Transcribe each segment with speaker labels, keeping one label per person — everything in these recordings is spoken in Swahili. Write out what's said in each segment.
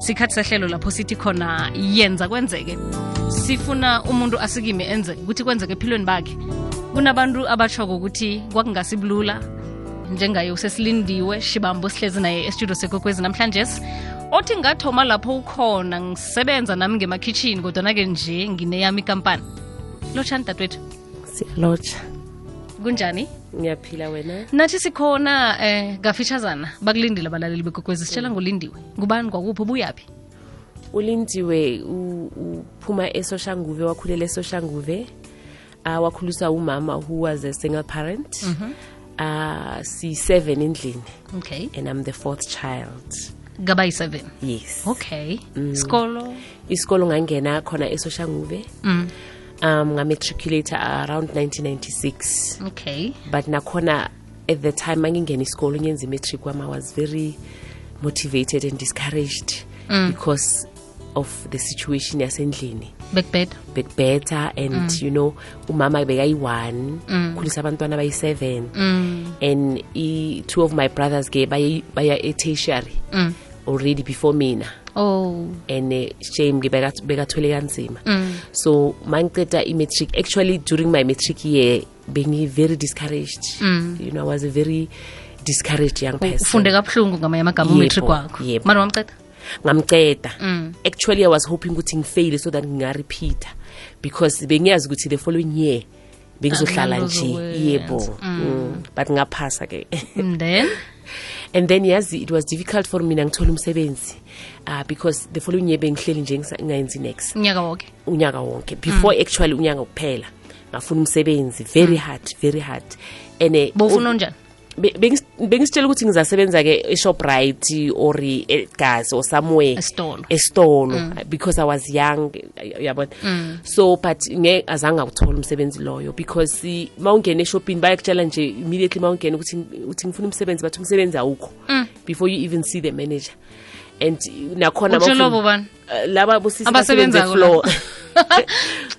Speaker 1: sikhathi sehlelo lapho sithi khona yenza kwenzeke sifuna umuntu asikime enze ukuthi kwenzeke ephilweni bakhe kunabantu abashoko ukuthi kwakungasibulula njengaye usesilindiwe shibambo sihlezi naye estudio sekokwezi namhlanje othi ngathoma lapho ukhona ngisebenza nami ngemakhitshini kodwana-ke nje ngineyami ikampani lotshani dadwethu
Speaker 2: siyalotsha
Speaker 1: kunjani
Speaker 2: ngiyaphila wena
Speaker 1: nathi sikhona eh ngafitshazana bakulindile abalaleli begokwezi sitshela ngolindiwe ngubani kwakuphi buyaphi
Speaker 2: ulindiwe u- uphuma esoshanguve wakhulela esoshanguve uh, wakhuliswa umama who was a single parent uh, siyi-seven endlini
Speaker 1: okay
Speaker 2: and i'm the fourth child
Speaker 1: ngaba yi-7
Speaker 2: yes
Speaker 1: okay
Speaker 2: Mm.
Speaker 1: isikolo
Speaker 2: isikolo ngangena khona esoshanguve
Speaker 1: mm.
Speaker 2: um ngametriculator around 1996
Speaker 1: okay
Speaker 2: but nakhona at the time mangingena isikolo ngenza imetric wami i was very motivated and discouraged mm. because of the situation yasendlini
Speaker 1: bekubheda
Speaker 2: bekubetha and mm. you know umama bekayi-one mm. khulisa abantwana bayi-seven mm. and i, two of my brothers ke baye- baya etatiary mm. already before mina
Speaker 1: oh
Speaker 2: and uh, shame ke beka- bekathwele kanzima
Speaker 1: Mm.
Speaker 2: so mangiceda i-matric actually during my matric year bengi-very discouraged you know i was a very discouraged young person
Speaker 1: Mm. ufunde kabuhlungu ngamanye amagama
Speaker 2: Yebo,
Speaker 1: umetri kwakho
Speaker 2: yebo.
Speaker 1: mara Mm. wamceda
Speaker 2: ngamceda actually i was hoping ukuthi ngifaile so that ngingarepeata because bengiyazi ukuthi the following year bengizohlala nje
Speaker 1: Angizokwenza.
Speaker 2: yebo Mm. but ngaphasa ke
Speaker 1: And then
Speaker 2: and then yazi it was difficult for mina ngithole umsebenzi uh, because the following year bengihleli nje ngisa- ngingayenzi next
Speaker 1: unyaka woke
Speaker 2: unyaka wonke before actually unyaka kuphela ngafuna umsebenzi very hard very hard and eh,
Speaker 1: bowufuna onjani
Speaker 2: be- bengis- bengisitshela ukuthi ngizasebenza ke eshoprite or egas or somewhere
Speaker 1: Esitolo.
Speaker 2: esitolo because i was young eh, uyabona so but nge azange awuthola umsebenzi loyo because eh, ma ungena eshopini bayakutshela nje immediately ma ungena ukuthi uthi ngifuna umsebenzi but umsebenzi awukho before you even see the manager and eh, nakhona ma
Speaker 1: Utshelwa
Speaker 2: ufuna-
Speaker 1: bobani?
Speaker 2: Eh, laba bosisi abasebenza
Speaker 1: abasebenzako
Speaker 2: floor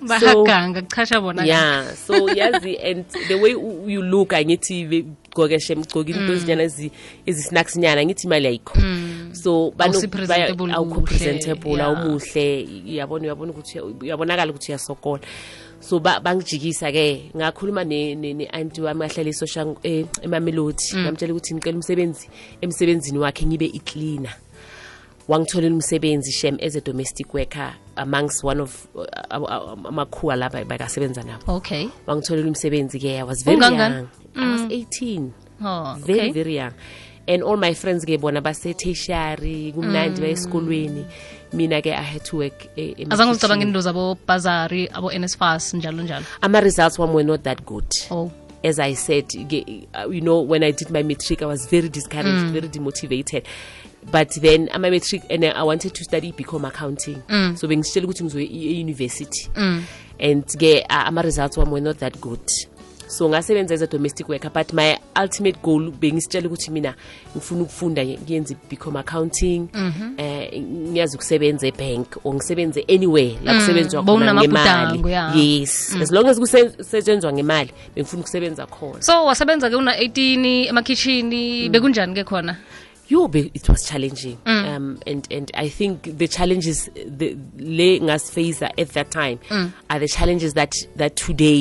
Speaker 1: bahaganga kuchasha bona
Speaker 2: yeah so yazi and the way u- you look angithi ve- gcokeshe mgcoki into ezinyana ezi- ezi-snacks nyana ngithi imali ayikho so bano-
Speaker 1: Awusi-presentable
Speaker 2: baya- awukho
Speaker 1: uhle,
Speaker 2: presentable
Speaker 1: yeah.
Speaker 2: awumuhle uyabona uyabona ukuthi uya- uyabonakala ukuthi uyasokola so ba- bangijikisa-ke ngakhuluma ne- ne- ne-anti wami ngahlala esosha emamelodi
Speaker 1: Mm.
Speaker 2: ngamtshela ukuthi ngicela umsebenzi emsebenzini wakhe ngibe iklina wangitholela umsebenzi shem as a domestic worker amongst one of uh, uh, uh, amakhuwa laba bakasebenza nabo
Speaker 1: okay
Speaker 2: wangitholela umsebenzi ke i was very
Speaker 1: Ungangani? Mm.
Speaker 2: young i was 18
Speaker 1: oh
Speaker 2: very
Speaker 1: okay
Speaker 2: very young and all my friends ke bona basetatiary kumnandi bayesikolweni mina ke i had to work e- ema-
Speaker 1: Mm. azange uzicabange into zabobhazari abo-nsfas njalo njalo
Speaker 2: ama-results wami were not that good
Speaker 1: oh
Speaker 2: as i said ke, uh, you know when i did my matric i was very discouraged very demotivated but then ama-matric and uh, i wanted to study become accounting so bengisitshela ukuthi ngizoye e-university and-ke uh, ama-results wami were not that good so ngasebenza as a domestic worker but my ultimate goal bengisitshela ukuthi mina ngifuna ukufunda ngiyenze become accounting um ngiyazi ukusebenza ebank or ngisebenze anywhere la kusebenzwa khona
Speaker 1: bowunamabudango,
Speaker 2: ngemali
Speaker 1: yeah. Mm.
Speaker 2: yes as long as kusetshenzwa ngemali bengifuna ukusebenza khona
Speaker 1: so wasebenza ke una-18
Speaker 2: Mm.
Speaker 1: emakhitshini bekunjani ke khona
Speaker 2: yo be- it was challenging
Speaker 1: Mm.
Speaker 2: um, and, and i think the challenges the, le ngasifacea at that time
Speaker 1: Mm.
Speaker 2: are the challenges that, that today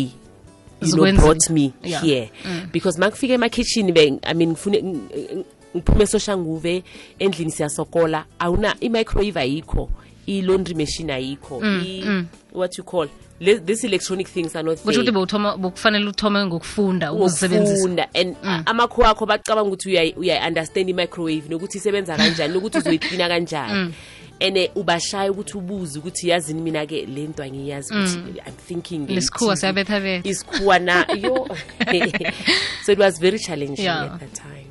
Speaker 2: you know,
Speaker 1: Zikwenzile.
Speaker 2: brought me
Speaker 1: Yeah. Mm.
Speaker 2: here because makufika emakitchini be i mean ngifune ng- ng- ngiphume esoshanguve endlini siyasokola awuna i-microwave ayikho i-laundry machine ayikho
Speaker 1: Mm,
Speaker 2: i- what you call le- these electronic things are not
Speaker 1: kusho
Speaker 2: there.
Speaker 1: ukuthi bewuthoma- bekufanele uthome ngokufunda ukuzisebenzisa
Speaker 2: ukufunda and
Speaker 1: Mm.
Speaker 2: amakho wakho bacabanga ukuthi uyayi- uyayi-understand i-microwave nokuthi isebenza kanjani nokuthi uzoyiklina
Speaker 1: Mm.
Speaker 2: kanjani and eh, ubashaya ukuthi ubuze ukuthi yazini mina-ke le nto angiyazi ukuthi i'm thinking eh,
Speaker 1: Lesikhuwa
Speaker 2: ithini.
Speaker 1: Mm. siyabethabetha.
Speaker 2: isikhuwa na yo so it was very challenging
Speaker 1: Yeah.
Speaker 2: at that time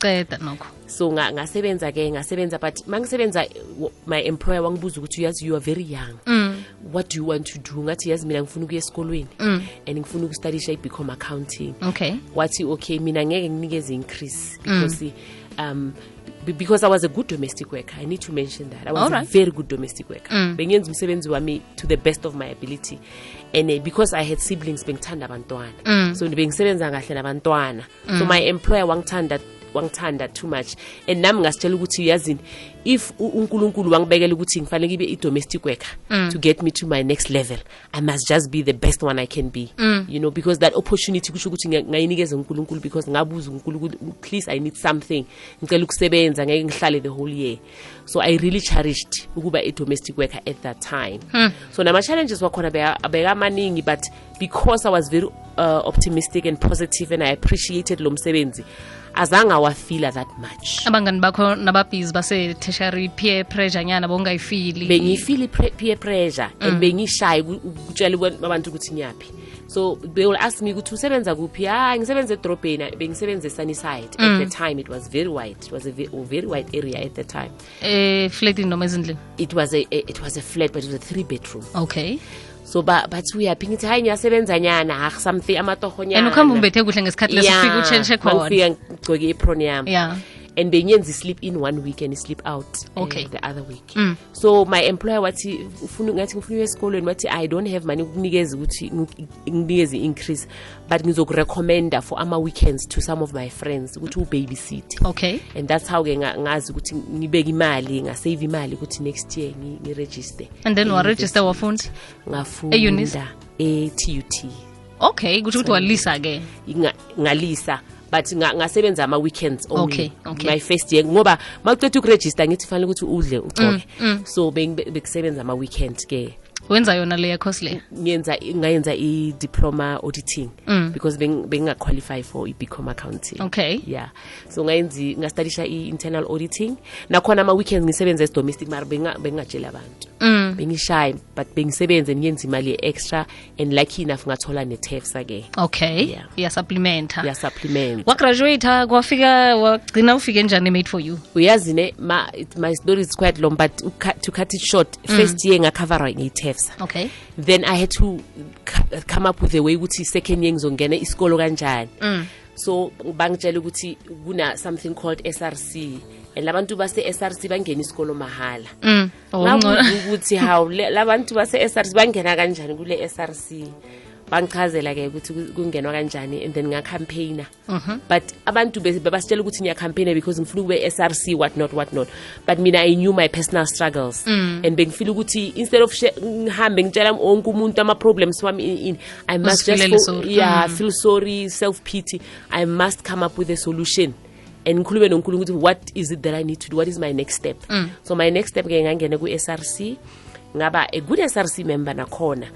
Speaker 1: bayaceda nokho
Speaker 2: so nga- ngasebenza ke ngasebenza but mangisebenza eh, w- my employer wangibuza ukuthi yazi you are very young
Speaker 1: Mm.
Speaker 2: what do you want to do ngathi yazi mina ngifuna ukuya esikolweni and ngifuna ukustudisha i-become accounting
Speaker 1: okay
Speaker 2: wathi okay mina ngeke nginikeze increase because um be- because i was a good domestic worker i need to mention that i was
Speaker 1: Alright.
Speaker 2: a very good domestic worker bengenza umsebenzi wami to the best of my ability and uh, because i had siblings bengithanda abantwana so bengisebenza kahle nabantwana so my employer wangithanda wangithanda too much and nami ngasitshela ukuthi yazini if u- unkulunkulu wangibekela ukuthi ngifanele ngibe i-domestic worker to get me to my next level i must just be the best one i can be you know because that opportunity kusho ukuthi ngiya- ngayinikeza unkulunkulu because ngabuza unkulunkulu at least i need something ngicela ukusebenza ngeke ngihlale the whole year so i really cherished ukuba i-domestic worker at that time so nama-challenges wakhona bekamaningi but because i was very uh, optimistic and positive and i appreciated lo msebenzi azange awafila that much
Speaker 1: abangani bakho nababhizi base-tertiary peer pressure nyana bongayifili
Speaker 2: bengifeel i- peer pressure and bengishaye uku- ukutshela abantu- abantu ukuthi ngiyaphi so they will ask me ukuthi usebenza kuphi hayi ngisebenza edorobheni bengisebenza esunnyside at the time it was very wide it was a ve- a very wide area at the time
Speaker 1: eflatini Eh, noma ezindlini
Speaker 2: it was a, a- it was a flat but it was a three bedroom
Speaker 1: okay
Speaker 2: so ba- bathi uyaphi ngithi hayi ngiyasebenza nyana ah, something amatohonyana
Speaker 1: and ukuhamba umbethe kuhle ngesikhathi leso ufike utshentshhe khona
Speaker 2: ngifika ngigcoke i-apron yami
Speaker 1: Yeah.
Speaker 2: and bengenza i-sleep in one week and i-sleep out uh,
Speaker 1: Okay. Mm.
Speaker 2: the other week so my employer wathi ufuna ngathi ngifuna uye esikolweni wathi i don't have money ukunikeza ukuthi nginikeze i-increase but ngizokurecommenda for ama-weekends to some of my friends ukuthi ubabysit
Speaker 1: okay
Speaker 2: and that's how-ke nga- ngazi ukuthi ngibeke imali ngasave imali ukuthi next year ngi- ngiregister
Speaker 1: and then waregister wafunda E-Unis?
Speaker 2: ngafunda e-tut
Speaker 1: okay kusho ukuthi walisa-ke
Speaker 2: nga- ngalisa but nga- ngasebenza ama-weekends
Speaker 1: Okay,
Speaker 2: only
Speaker 1: okay. Mm,
Speaker 2: my first year ngoba ma uceda ukuregister ngithi fanele ukuthi udle ugcoke so bengi- bekusebenza ama-weekend ke
Speaker 1: wenza yona leya course le
Speaker 2: ngenza ngayenza i-diploma auditing because beng- benginga-qualify for i-bcom accounting
Speaker 1: Mm. okay
Speaker 2: yeah so ngayenzi ngastadisha i-internal auditing nakhona ama-weekends ngisebenza as-domestic mara benginga- bengingatsheli abantu
Speaker 1: mm.
Speaker 2: bengishaye but bengisebenze ngiyenza imali e-extra and lucky enough ngathola E ne-tefsa-ke
Speaker 1: okay
Speaker 2: Yeah.
Speaker 1: iyasupplementa
Speaker 2: yasupplement
Speaker 1: wagraduata kwafika wagcina ufike njani emade for you
Speaker 2: uyazi ne ma, it, my story is quite long but ucut- to cut it short first year ngakhavara ngiyithefsa
Speaker 1: okay
Speaker 2: then i had to c- come up with a way ukuthi second year ngizongena isikolo kanjani so bangitshela ukuthi kuna something called src and labantu base-src bangena isikolo mahhala
Speaker 1: mm. Oh, ngcono.
Speaker 2: Ngabuza ukuthi hawu le- labantu base-src bangena kanjani kule src bangichazela ke ukuthi ku- kungenwa kanjani and then ngakhampayina but abantu be- bebasitshela ukuthi ngiyacampaigna because ngifuna ukube src what not what not but mina i knew my personal struggles and bengifile ukuthi instead of she- ngihambe ngitshela onke umuntu ama-problems wami ini ini, i must just
Speaker 1: Uzifilele
Speaker 2: fo-
Speaker 1: sorry.
Speaker 2: yeah
Speaker 1: Mm.
Speaker 2: feel sorry self pity i must come up with a solution and ngikhulume nonkulunkulu ukuthi what is it that i need to do what is my next step so my next step ke ngangene ku-src ngaba a good src member nakhona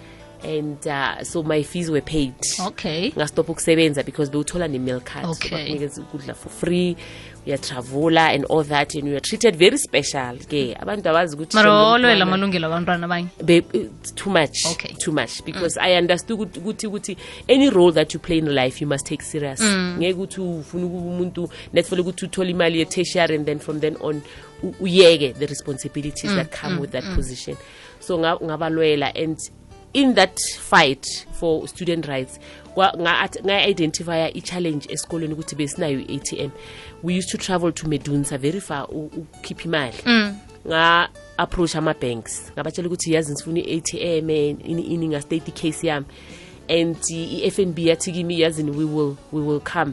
Speaker 2: and uh, so my fees were paid
Speaker 1: okay
Speaker 2: ngastopha ukusebenza because bewuthola ne-mail card
Speaker 1: Okay.
Speaker 2: so bakunikeza ukudla for free uyatravula and all that and youare treated very special ke abantu abazi ukuthi
Speaker 1: mara
Speaker 2: sengilomntwana-
Speaker 1: walwela amalungelo abantwana abanye
Speaker 2: be, it's too much
Speaker 1: Okay.
Speaker 2: too much because i understood ukuthi- ukuthi ukuthi any role that you play in life you must take serious ngeke ukuthi ufuna ukuba umuntu netfele ukuthi uthole imali ye-tertiary and then from then on u- uyeke the responsibilities that come with that position so nga- ngabalwela and in that fight for student rights kwa- nga- at- nga-identifya i-challenge esikolweni ukuthi besinayo i-a t m we used to travel to medunsa very far u- ukukhipha imali nga-approach ama-banks ngabatshela ukuthi yazi ngifuna i-a t m ini ini ngastate i-case yami and uh, i-f n b yathi kimi yazini we will, we will come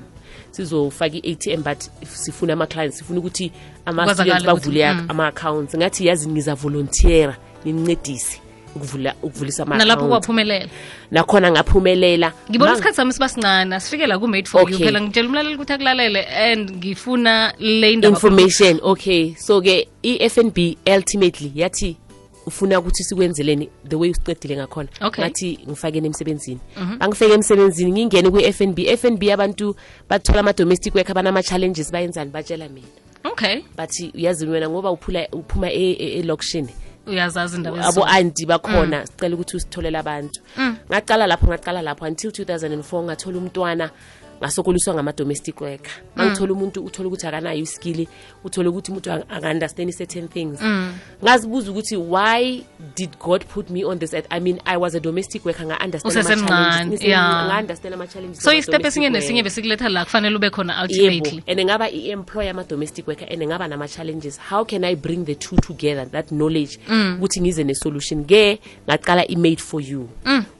Speaker 2: sizofaka i-a t m but if sifuna ama-clients sifuna ukuthi ama-students
Speaker 1: Kwazakale ukuthi, mm.
Speaker 2: bavule ama-accounts ngathi yazi ngizavolontiera nimncedise ukuvula ukuvulisa
Speaker 1: nalapho
Speaker 2: ama-account
Speaker 1: kwaphumelela
Speaker 2: nakhona ngaphumelela
Speaker 1: ngibona
Speaker 2: Mang-
Speaker 1: isikhathi sami siba sincane asifikela ku-made for you
Speaker 2: Okay.
Speaker 1: phela ngitshela umlaleli ukuthi akulalele and ngifuna le indaba-
Speaker 2: information okay so-ke i-fnb ultimately yathi ufuna ukuthi sikwenzeleni the way usiqedile ngakhona
Speaker 1: Okay. Mhm.
Speaker 2: ngathi ngifakeni emsebenzini bangifeke emsebenzini ngingene kwi-fnb fnb abantu bathola ama-domestic work abanama-challenges bayenzani batshela mina
Speaker 1: okay
Speaker 2: bathi uyazi wena ngoba uphula- uphuma e- e- elokishini
Speaker 1: uyazazi indaba Mm.
Speaker 2: abo
Speaker 1: yezizwe.
Speaker 2: anti bakhona sicela ukuthi usitholele abantu ngaqala lapho ngaqala lapho until 2004 ngathola umntwana ngasokoliswa ngama-domestic worker
Speaker 1: Mm.
Speaker 2: mangithola umuntu uthole ukuthi akanayo iskili uthole ukuthi umuntu ak- aka-understand certain things
Speaker 1: Mm.
Speaker 2: ngazibuza ukuthi why did god put me on this earth i mean i was a domestic worker
Speaker 1: Usesemncane, yeah.
Speaker 2: nga-understand ama-challenges
Speaker 1: so isitep esinye
Speaker 2: ama-domestic
Speaker 1: nesinye
Speaker 2: worker.
Speaker 1: besikuletha la kufanele ube khona
Speaker 2: yebo
Speaker 1: ultimately
Speaker 2: and ngaba i-employ ama-domestic worker and ngaba nama-challenges how can i bring the two together that knowledge
Speaker 1: Mm.
Speaker 2: ukuthi ngize ne-solution ke
Speaker 1: Mm.
Speaker 2: ngaqala i-made for you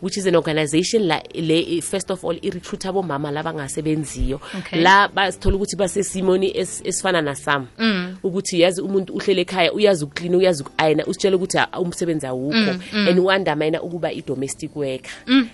Speaker 2: which is an organization la, le first of all i-recruit abomama laba abangasebenziyo
Speaker 1: Okay.
Speaker 2: la basithola ukuthi basesimoni es- esifana nasam
Speaker 1: Mm.
Speaker 2: ukuthi yazi umuntu uhlele ekhaya uyazi ukuklina uyazi uku-ayina usitshele ukuthi ah, umsebenzi awukho
Speaker 1: Mm,
Speaker 2: and wandamayina ukuba i-domestic worker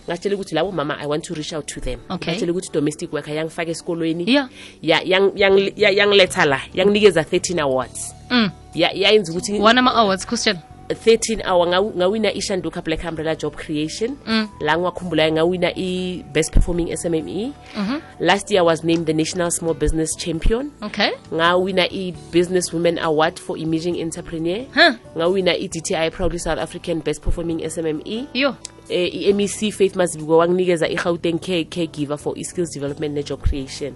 Speaker 2: ngatshele ukuthi labo mama i want to reach out to them
Speaker 1: Okay.
Speaker 2: ngatshele ukuthi i-domestic worker yangifaka esikolweni
Speaker 1: Yeah.
Speaker 2: ya- yang- yang- ya- yangiletha la yanginikeza 13 awards
Speaker 1: Mm.
Speaker 2: Ya- yayenza ukuthi
Speaker 1: one ama-awards christian
Speaker 2: 13 hour ngaw- ngawina ishanduka black umbrella job creation
Speaker 1: Mm.
Speaker 2: la ngiwakhumbulayo ngawina i-best performing smme E.
Speaker 1: Mm. Mm-hmm.
Speaker 2: last year I was named the national small business champion
Speaker 1: okay
Speaker 2: ngawina i-business women award for emerging entrepreneur
Speaker 1: Huh.
Speaker 2: ngawina i-dti proudly south african best performing smme
Speaker 1: yo
Speaker 2: eh, i-mec faith masibuko wanginikeza i-gauteng care, care giver for i-skills development ne-job creation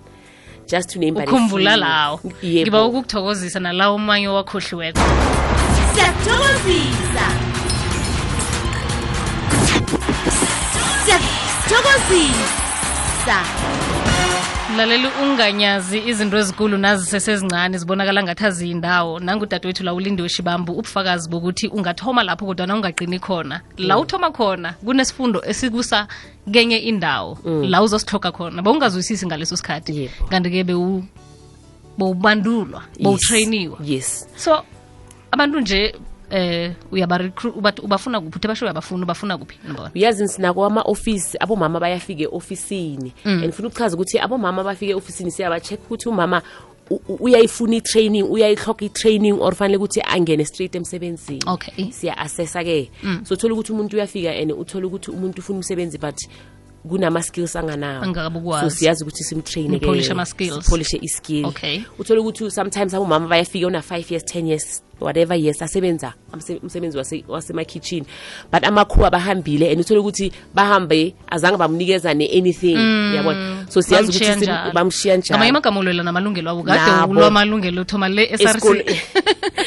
Speaker 2: just to name but a
Speaker 1: ukhumbula
Speaker 2: few.
Speaker 1: lawo
Speaker 2: Yebo.
Speaker 1: ngiba ukukuthokozisa nalawo umanye owakhohliweko
Speaker 3: siyakuthokozisa siyakuthokozisa
Speaker 1: mlaleli unganyazi izinto ezikulu nazisesezincane zibonakala ngathi aziyindawo nangudadewethu la ulindiwe shibambu ubufakazi bokuthi ungathoma lapho kodwana ungaqini khona la
Speaker 2: Mm.
Speaker 1: uthoma khona kunesifundo esikusa kenye indawo la uzosihloka khona bowungazwisisi ngaleso sikhathi
Speaker 2: Mm. Yebo.
Speaker 1: kanti-ke bewu- bowubandulwa
Speaker 2: Yes.
Speaker 1: bowutrayiniwa
Speaker 2: yes
Speaker 1: so abantu nje eh uyabarecruit ubat- ubafuna kuphi uthe basho uyabafuna ubafuna kuphi nibona
Speaker 2: uyazi sinako ama-ofisi abomama bayafika e-ofisini mm. and funa ukuchaza ukuthi abomama bafika e-ofisini siyaba-check ukuthi umama u- u- uyayifuna i-training uyayihloka i-training or fanele ukuthi angene straight emsebenzini
Speaker 1: okay
Speaker 2: siya-assessa-ke mm. so thola ukuthi umuntu uyafika and uthole ukuthi umuntu ufuna umsebenzi but kunama-skills anganawo
Speaker 1: Angakabukwazi.
Speaker 2: so siyazi ukuthi simtraine-ke
Speaker 1: Nipolishe ama-skills.
Speaker 2: sipolishe i-skill
Speaker 1: Okay.
Speaker 2: uthole ukuthi sometimes abomama bayafika una-five years ten years whatever years asebenza amse- umsebenzi wase- wasemakhitshini but amakhuwa bahambile and uthole ukuthi bahambe azange bamnikeza ne-anything yabona so
Speaker 1: Mm.
Speaker 2: siyazi
Speaker 1: Bamshiya
Speaker 2: ukuthi sim-
Speaker 1: njalo.
Speaker 2: bamshiya
Speaker 1: ngamanye
Speaker 2: njalo
Speaker 1: amagama ulwela namalungelo abo kade
Speaker 2: Nabo.
Speaker 1: ulwa amalungelo uthoma le
Speaker 2: Esikole-
Speaker 1: SRC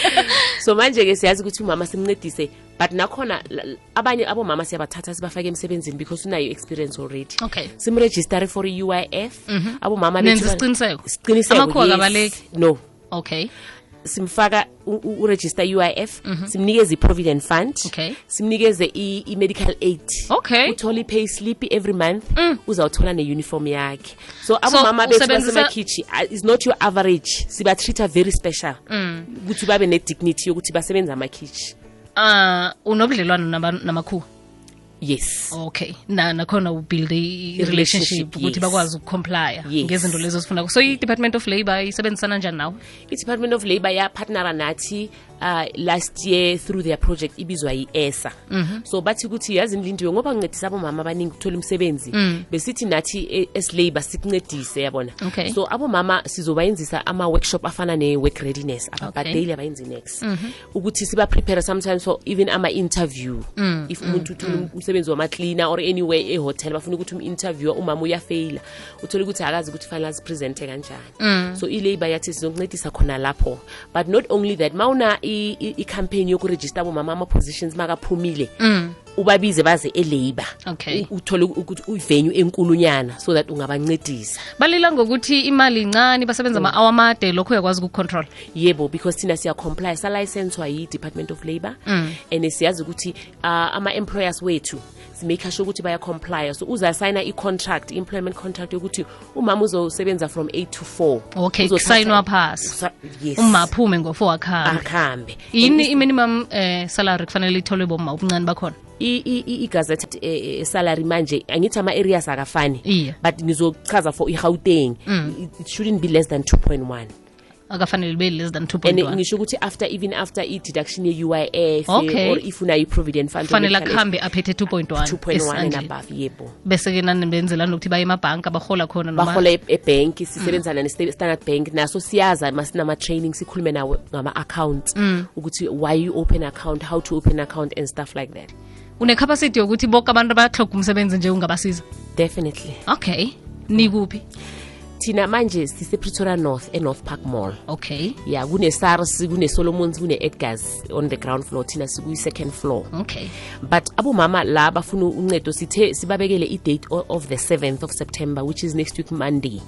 Speaker 2: so manje-ke siyazi ukuthi umama simncedise but nakhona la- la- abanye abomama siyabathatha sibafake emsebenzini because unayo i-experience already
Speaker 1: okay
Speaker 2: simregistare for i-u i f abomama bethu
Speaker 1: Mhm. Nenza
Speaker 2: ba-
Speaker 1: isiqiniseko?
Speaker 2: Isiqiniseko,
Speaker 1: Amakhuwa
Speaker 2: yes.
Speaker 1: akabaleki?
Speaker 2: no
Speaker 1: okay
Speaker 2: simfaka uregister UIF simnikeze provident fund
Speaker 1: Mhm. Okay.
Speaker 2: simnikeze i- i-medical aid
Speaker 1: Okay. Mm.
Speaker 2: uthola i-pay slip every month uzawuthola ne-uniform yakhe so
Speaker 1: So,
Speaker 2: abomama bethu
Speaker 1: usebenzisa-
Speaker 2: basemakhishi ah, is not your average siba-treat-a very special
Speaker 1: Mm.
Speaker 2: ukuthi babe ne-dignity yokuthi basebenza amakhishi
Speaker 1: ah unobudlelwano nama- namakhuwa
Speaker 2: yes
Speaker 1: okay na nakhona ubuilde i-relationship
Speaker 2: I-relationship,
Speaker 1: ukuthi
Speaker 2: yes.
Speaker 1: bakwazi ukucomplya
Speaker 2: Yes.
Speaker 1: ngezinto lezo zifuna so i-department of labor isebenzisana njani nawe
Speaker 2: i-department of labor yapartnera nathi uh, last year through their project ibizwa yi-esa so bathi ukuthi yazi nilindiwe ngoba ngincedisa abomama abaningi ukuthola umsebenzi besithi nathi e- as labor sikuncedise yabona
Speaker 1: Okay.
Speaker 2: so abomama sizobayenzisa ama-workshop afana ne-work readiness ababhadeli
Speaker 1: Okay. Mhm.
Speaker 2: abayenzi next ukuthi siba-prepare sometimes for even ama-interview
Speaker 1: Mm,
Speaker 2: if umuntu uthola umsebenzi wama-cleaner or anywhere ehotel bafuna ukuthi um-interviewer umama uyafeyila uthole ukuthi akazi ukuthi fanele azipresente
Speaker 1: Mm.
Speaker 2: kanjani so i-labour yathi sizokuncedisa khona lapho but not only that ma una i- i- i-campaign yokurejista abomama ama-positions makaphumile ubabize baze e-labour
Speaker 1: Mm. Okay.
Speaker 2: U- uthole ukuthi uvenue enkulunyana so that ungabancedisa
Speaker 1: balila ngokuthi imali incane basebenza
Speaker 2: Mm.
Speaker 1: ama-hour amade lokhu uyakwazi ukucontrol
Speaker 2: yebo because thina siyacomply salicenswa yi-department of labor mm. and siyazi ukuthi uh, ama-employers wethu simake sure ukuthi bayacomplya so uzasayina i-contract i-employment contract yokuthi umama uzosebenza from 8 to 4
Speaker 1: Okay,
Speaker 2: Uzothatha-
Speaker 1: kusayinwa phasi.
Speaker 2: Usa- yes
Speaker 1: umaphume ngo-four
Speaker 2: Ah,
Speaker 1: akhambe
Speaker 2: akhambe
Speaker 1: yini i-minimum eh, salary kufanele itholwe bomma ubuncane bakhona
Speaker 2: I- i- i- i-gazette eh, eh, salary manje angithi ama-areas akafani
Speaker 1: Iya.
Speaker 2: but ngizochaza for i-gauteng
Speaker 1: Mm.
Speaker 2: It- it shouldn't be less than 2.1
Speaker 1: akafanele libe less than two
Speaker 2: and
Speaker 1: point one
Speaker 2: ngisho ukuthi after even after i-deduction ye-uif
Speaker 1: Okay.
Speaker 2: or if unayo i-provident fund
Speaker 1: kufanele
Speaker 2: or medical aid,
Speaker 1: akuhambe aphethe 2.1
Speaker 2: 2.1 and
Speaker 1: esandleni
Speaker 2: above yebo
Speaker 1: bese-ke nani benzelani nokuthi baye emabhanki abarhola khona noma-
Speaker 2: bahola e- ebhenki sisebenzana ne-standard bank naso siyaza ma- sinama-training sikhulume nawe ngama-accounts ukuthi why you open account how to open account and stuff like that
Speaker 1: unecapacity yokuthi boke abantu bayahloga umsebenzi nje ungabasiza
Speaker 2: definitely
Speaker 1: okay nikuphi
Speaker 2: thina manje sisepretoria north enorth park mall
Speaker 1: okay
Speaker 2: ya kune-sars kune-solomons kune-edgars on the ground floor thina sikuyi-second floor
Speaker 1: okay
Speaker 2: but abomama la bafuna uncedo sithe sibabekele i-date o- of the 7th of september which is next week monday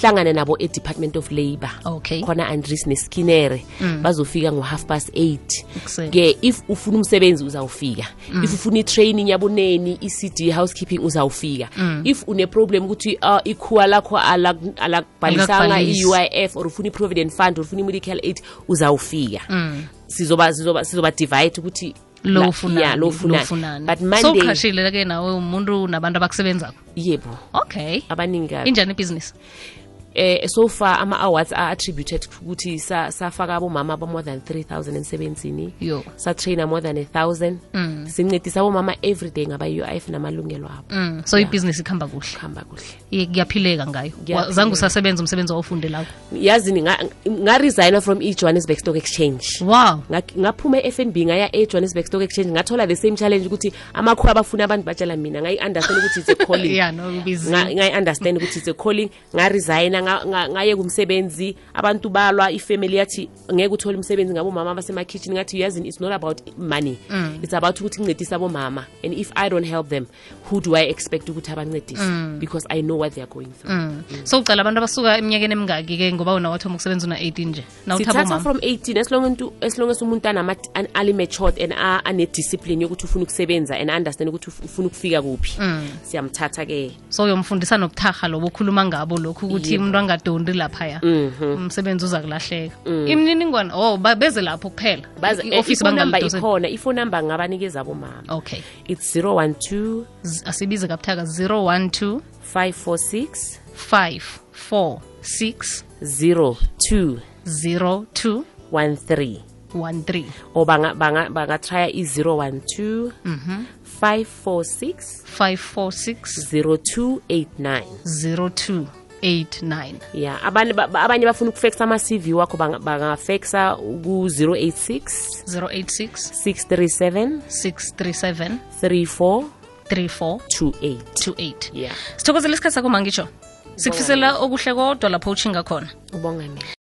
Speaker 2: hlangane nabo e-department of labour
Speaker 1: Okay.
Speaker 2: khona andres neskinere bazofika ngo-half past 8
Speaker 1: Ekuseni.
Speaker 2: ke if ufuna umsebenzi uzawufika if ufuna i-training yaboneni i-cd housekeeping uzawufika if une-problem ukuthi uh, ikhuwa lakho alak- alakubhalisanga
Speaker 1: Alakubhalisi.
Speaker 2: i-u i f or ufuna i-provident fund or ufuna i-medical aid uzawufika sizoba sizoba sizoba divide ukuthi
Speaker 1: Mm. lo
Speaker 2: la-
Speaker 1: ufunani,
Speaker 2: yeah, lo ufunani but monday
Speaker 1: sowuqashile ke nawe umuntu nabantu abakusebenzako
Speaker 2: yebo
Speaker 1: okay
Speaker 2: abaningi kabi
Speaker 1: injani ibhizinisi
Speaker 2: eh so far ama-awards a-attributed ukuthi sa- safaka abomama ba-more than 3000 emsebenzini
Speaker 1: yo
Speaker 2: satraina more than 1000 mm. sincedisa abomama everyday ngaba-u i f namalungelo abo
Speaker 1: Mm, so ibhizinisi ikuhamba kuhle
Speaker 2: kuhamba kuhle
Speaker 1: Iye, kuyaphileka ngayo Wa-
Speaker 2: Kuyaphileka.
Speaker 1: zange usasebenza umsebenzi wawufundelako
Speaker 2: yazi ninga- ngaresigna from i-johannesburg stock exchange
Speaker 1: wow
Speaker 2: Nga- ngaphuma e-fnb ngaya e-johannesburg stock exchange ngathola the same challenge ukuthi amakhuwa abafuna abantu batshala mina ngayi-understand ukuthi it's a calling
Speaker 1: ya nobizi
Speaker 2: Nga- ngayi-understand ukuthi it's a calling ngaresigna nga- nga- ngayeka umsebenzi abantu balwa ifamily yathi ngeke uthole umsebenzi ngabomama abasemakhitshini ngathi yazini it's not about money it's about ukuthi ngincedise abomama and if i don't help them who do i expect ukuthi abancedise because i know what they are going through
Speaker 1: Mm. so ucala abantu abasuka eminyakeni emingaki-ke ngoba wena wathoma ukusebenza una-18 nje nawuthaba
Speaker 2: sithatha
Speaker 1: umama
Speaker 2: from 18 as long into- as long as umuntu anama- an- ali-matured and a- ane-discipline yokuthi ufuna ukusebenza and understand ukuthi uf- ufuna ukufika kuphi siyamthatha-ke
Speaker 1: so uyomfundisa nobutharha lobo okhuluma ngabo lokhu ukuthi
Speaker 2: Yebo.
Speaker 1: umuntu angadondi laphaya
Speaker 2: Mhm. Mm.
Speaker 1: umsebenzi uza kulahleka imininingwane o beze lapho kuphela
Speaker 2: Baza- eh,
Speaker 1: I-office
Speaker 2: ifone number
Speaker 1: bangalidoseli.
Speaker 2: ikhona ifone number ngabanikeza bomama
Speaker 1: okay
Speaker 2: it's 012
Speaker 1: Z- asibize kabuthaka 012
Speaker 2: 546
Speaker 1: 546
Speaker 2: 0213
Speaker 1: 0213
Speaker 2: or banga- banga- bangatrya i-012
Speaker 1: Mhm.
Speaker 2: 546
Speaker 1: 546
Speaker 2: 0289
Speaker 1: 0289
Speaker 2: ya abanye ba- ba- abanye bafuna ukufexa ama-cv wakho banga- bangafexa ku-086
Speaker 1: 086
Speaker 2: 637
Speaker 1: 637
Speaker 2: 3428
Speaker 1: 34 28
Speaker 2: ya
Speaker 1: sithokozela isikhathi sakho mangitsho sikufisela okuhle kodwa lapho utshinga khona
Speaker 2: ubonga mina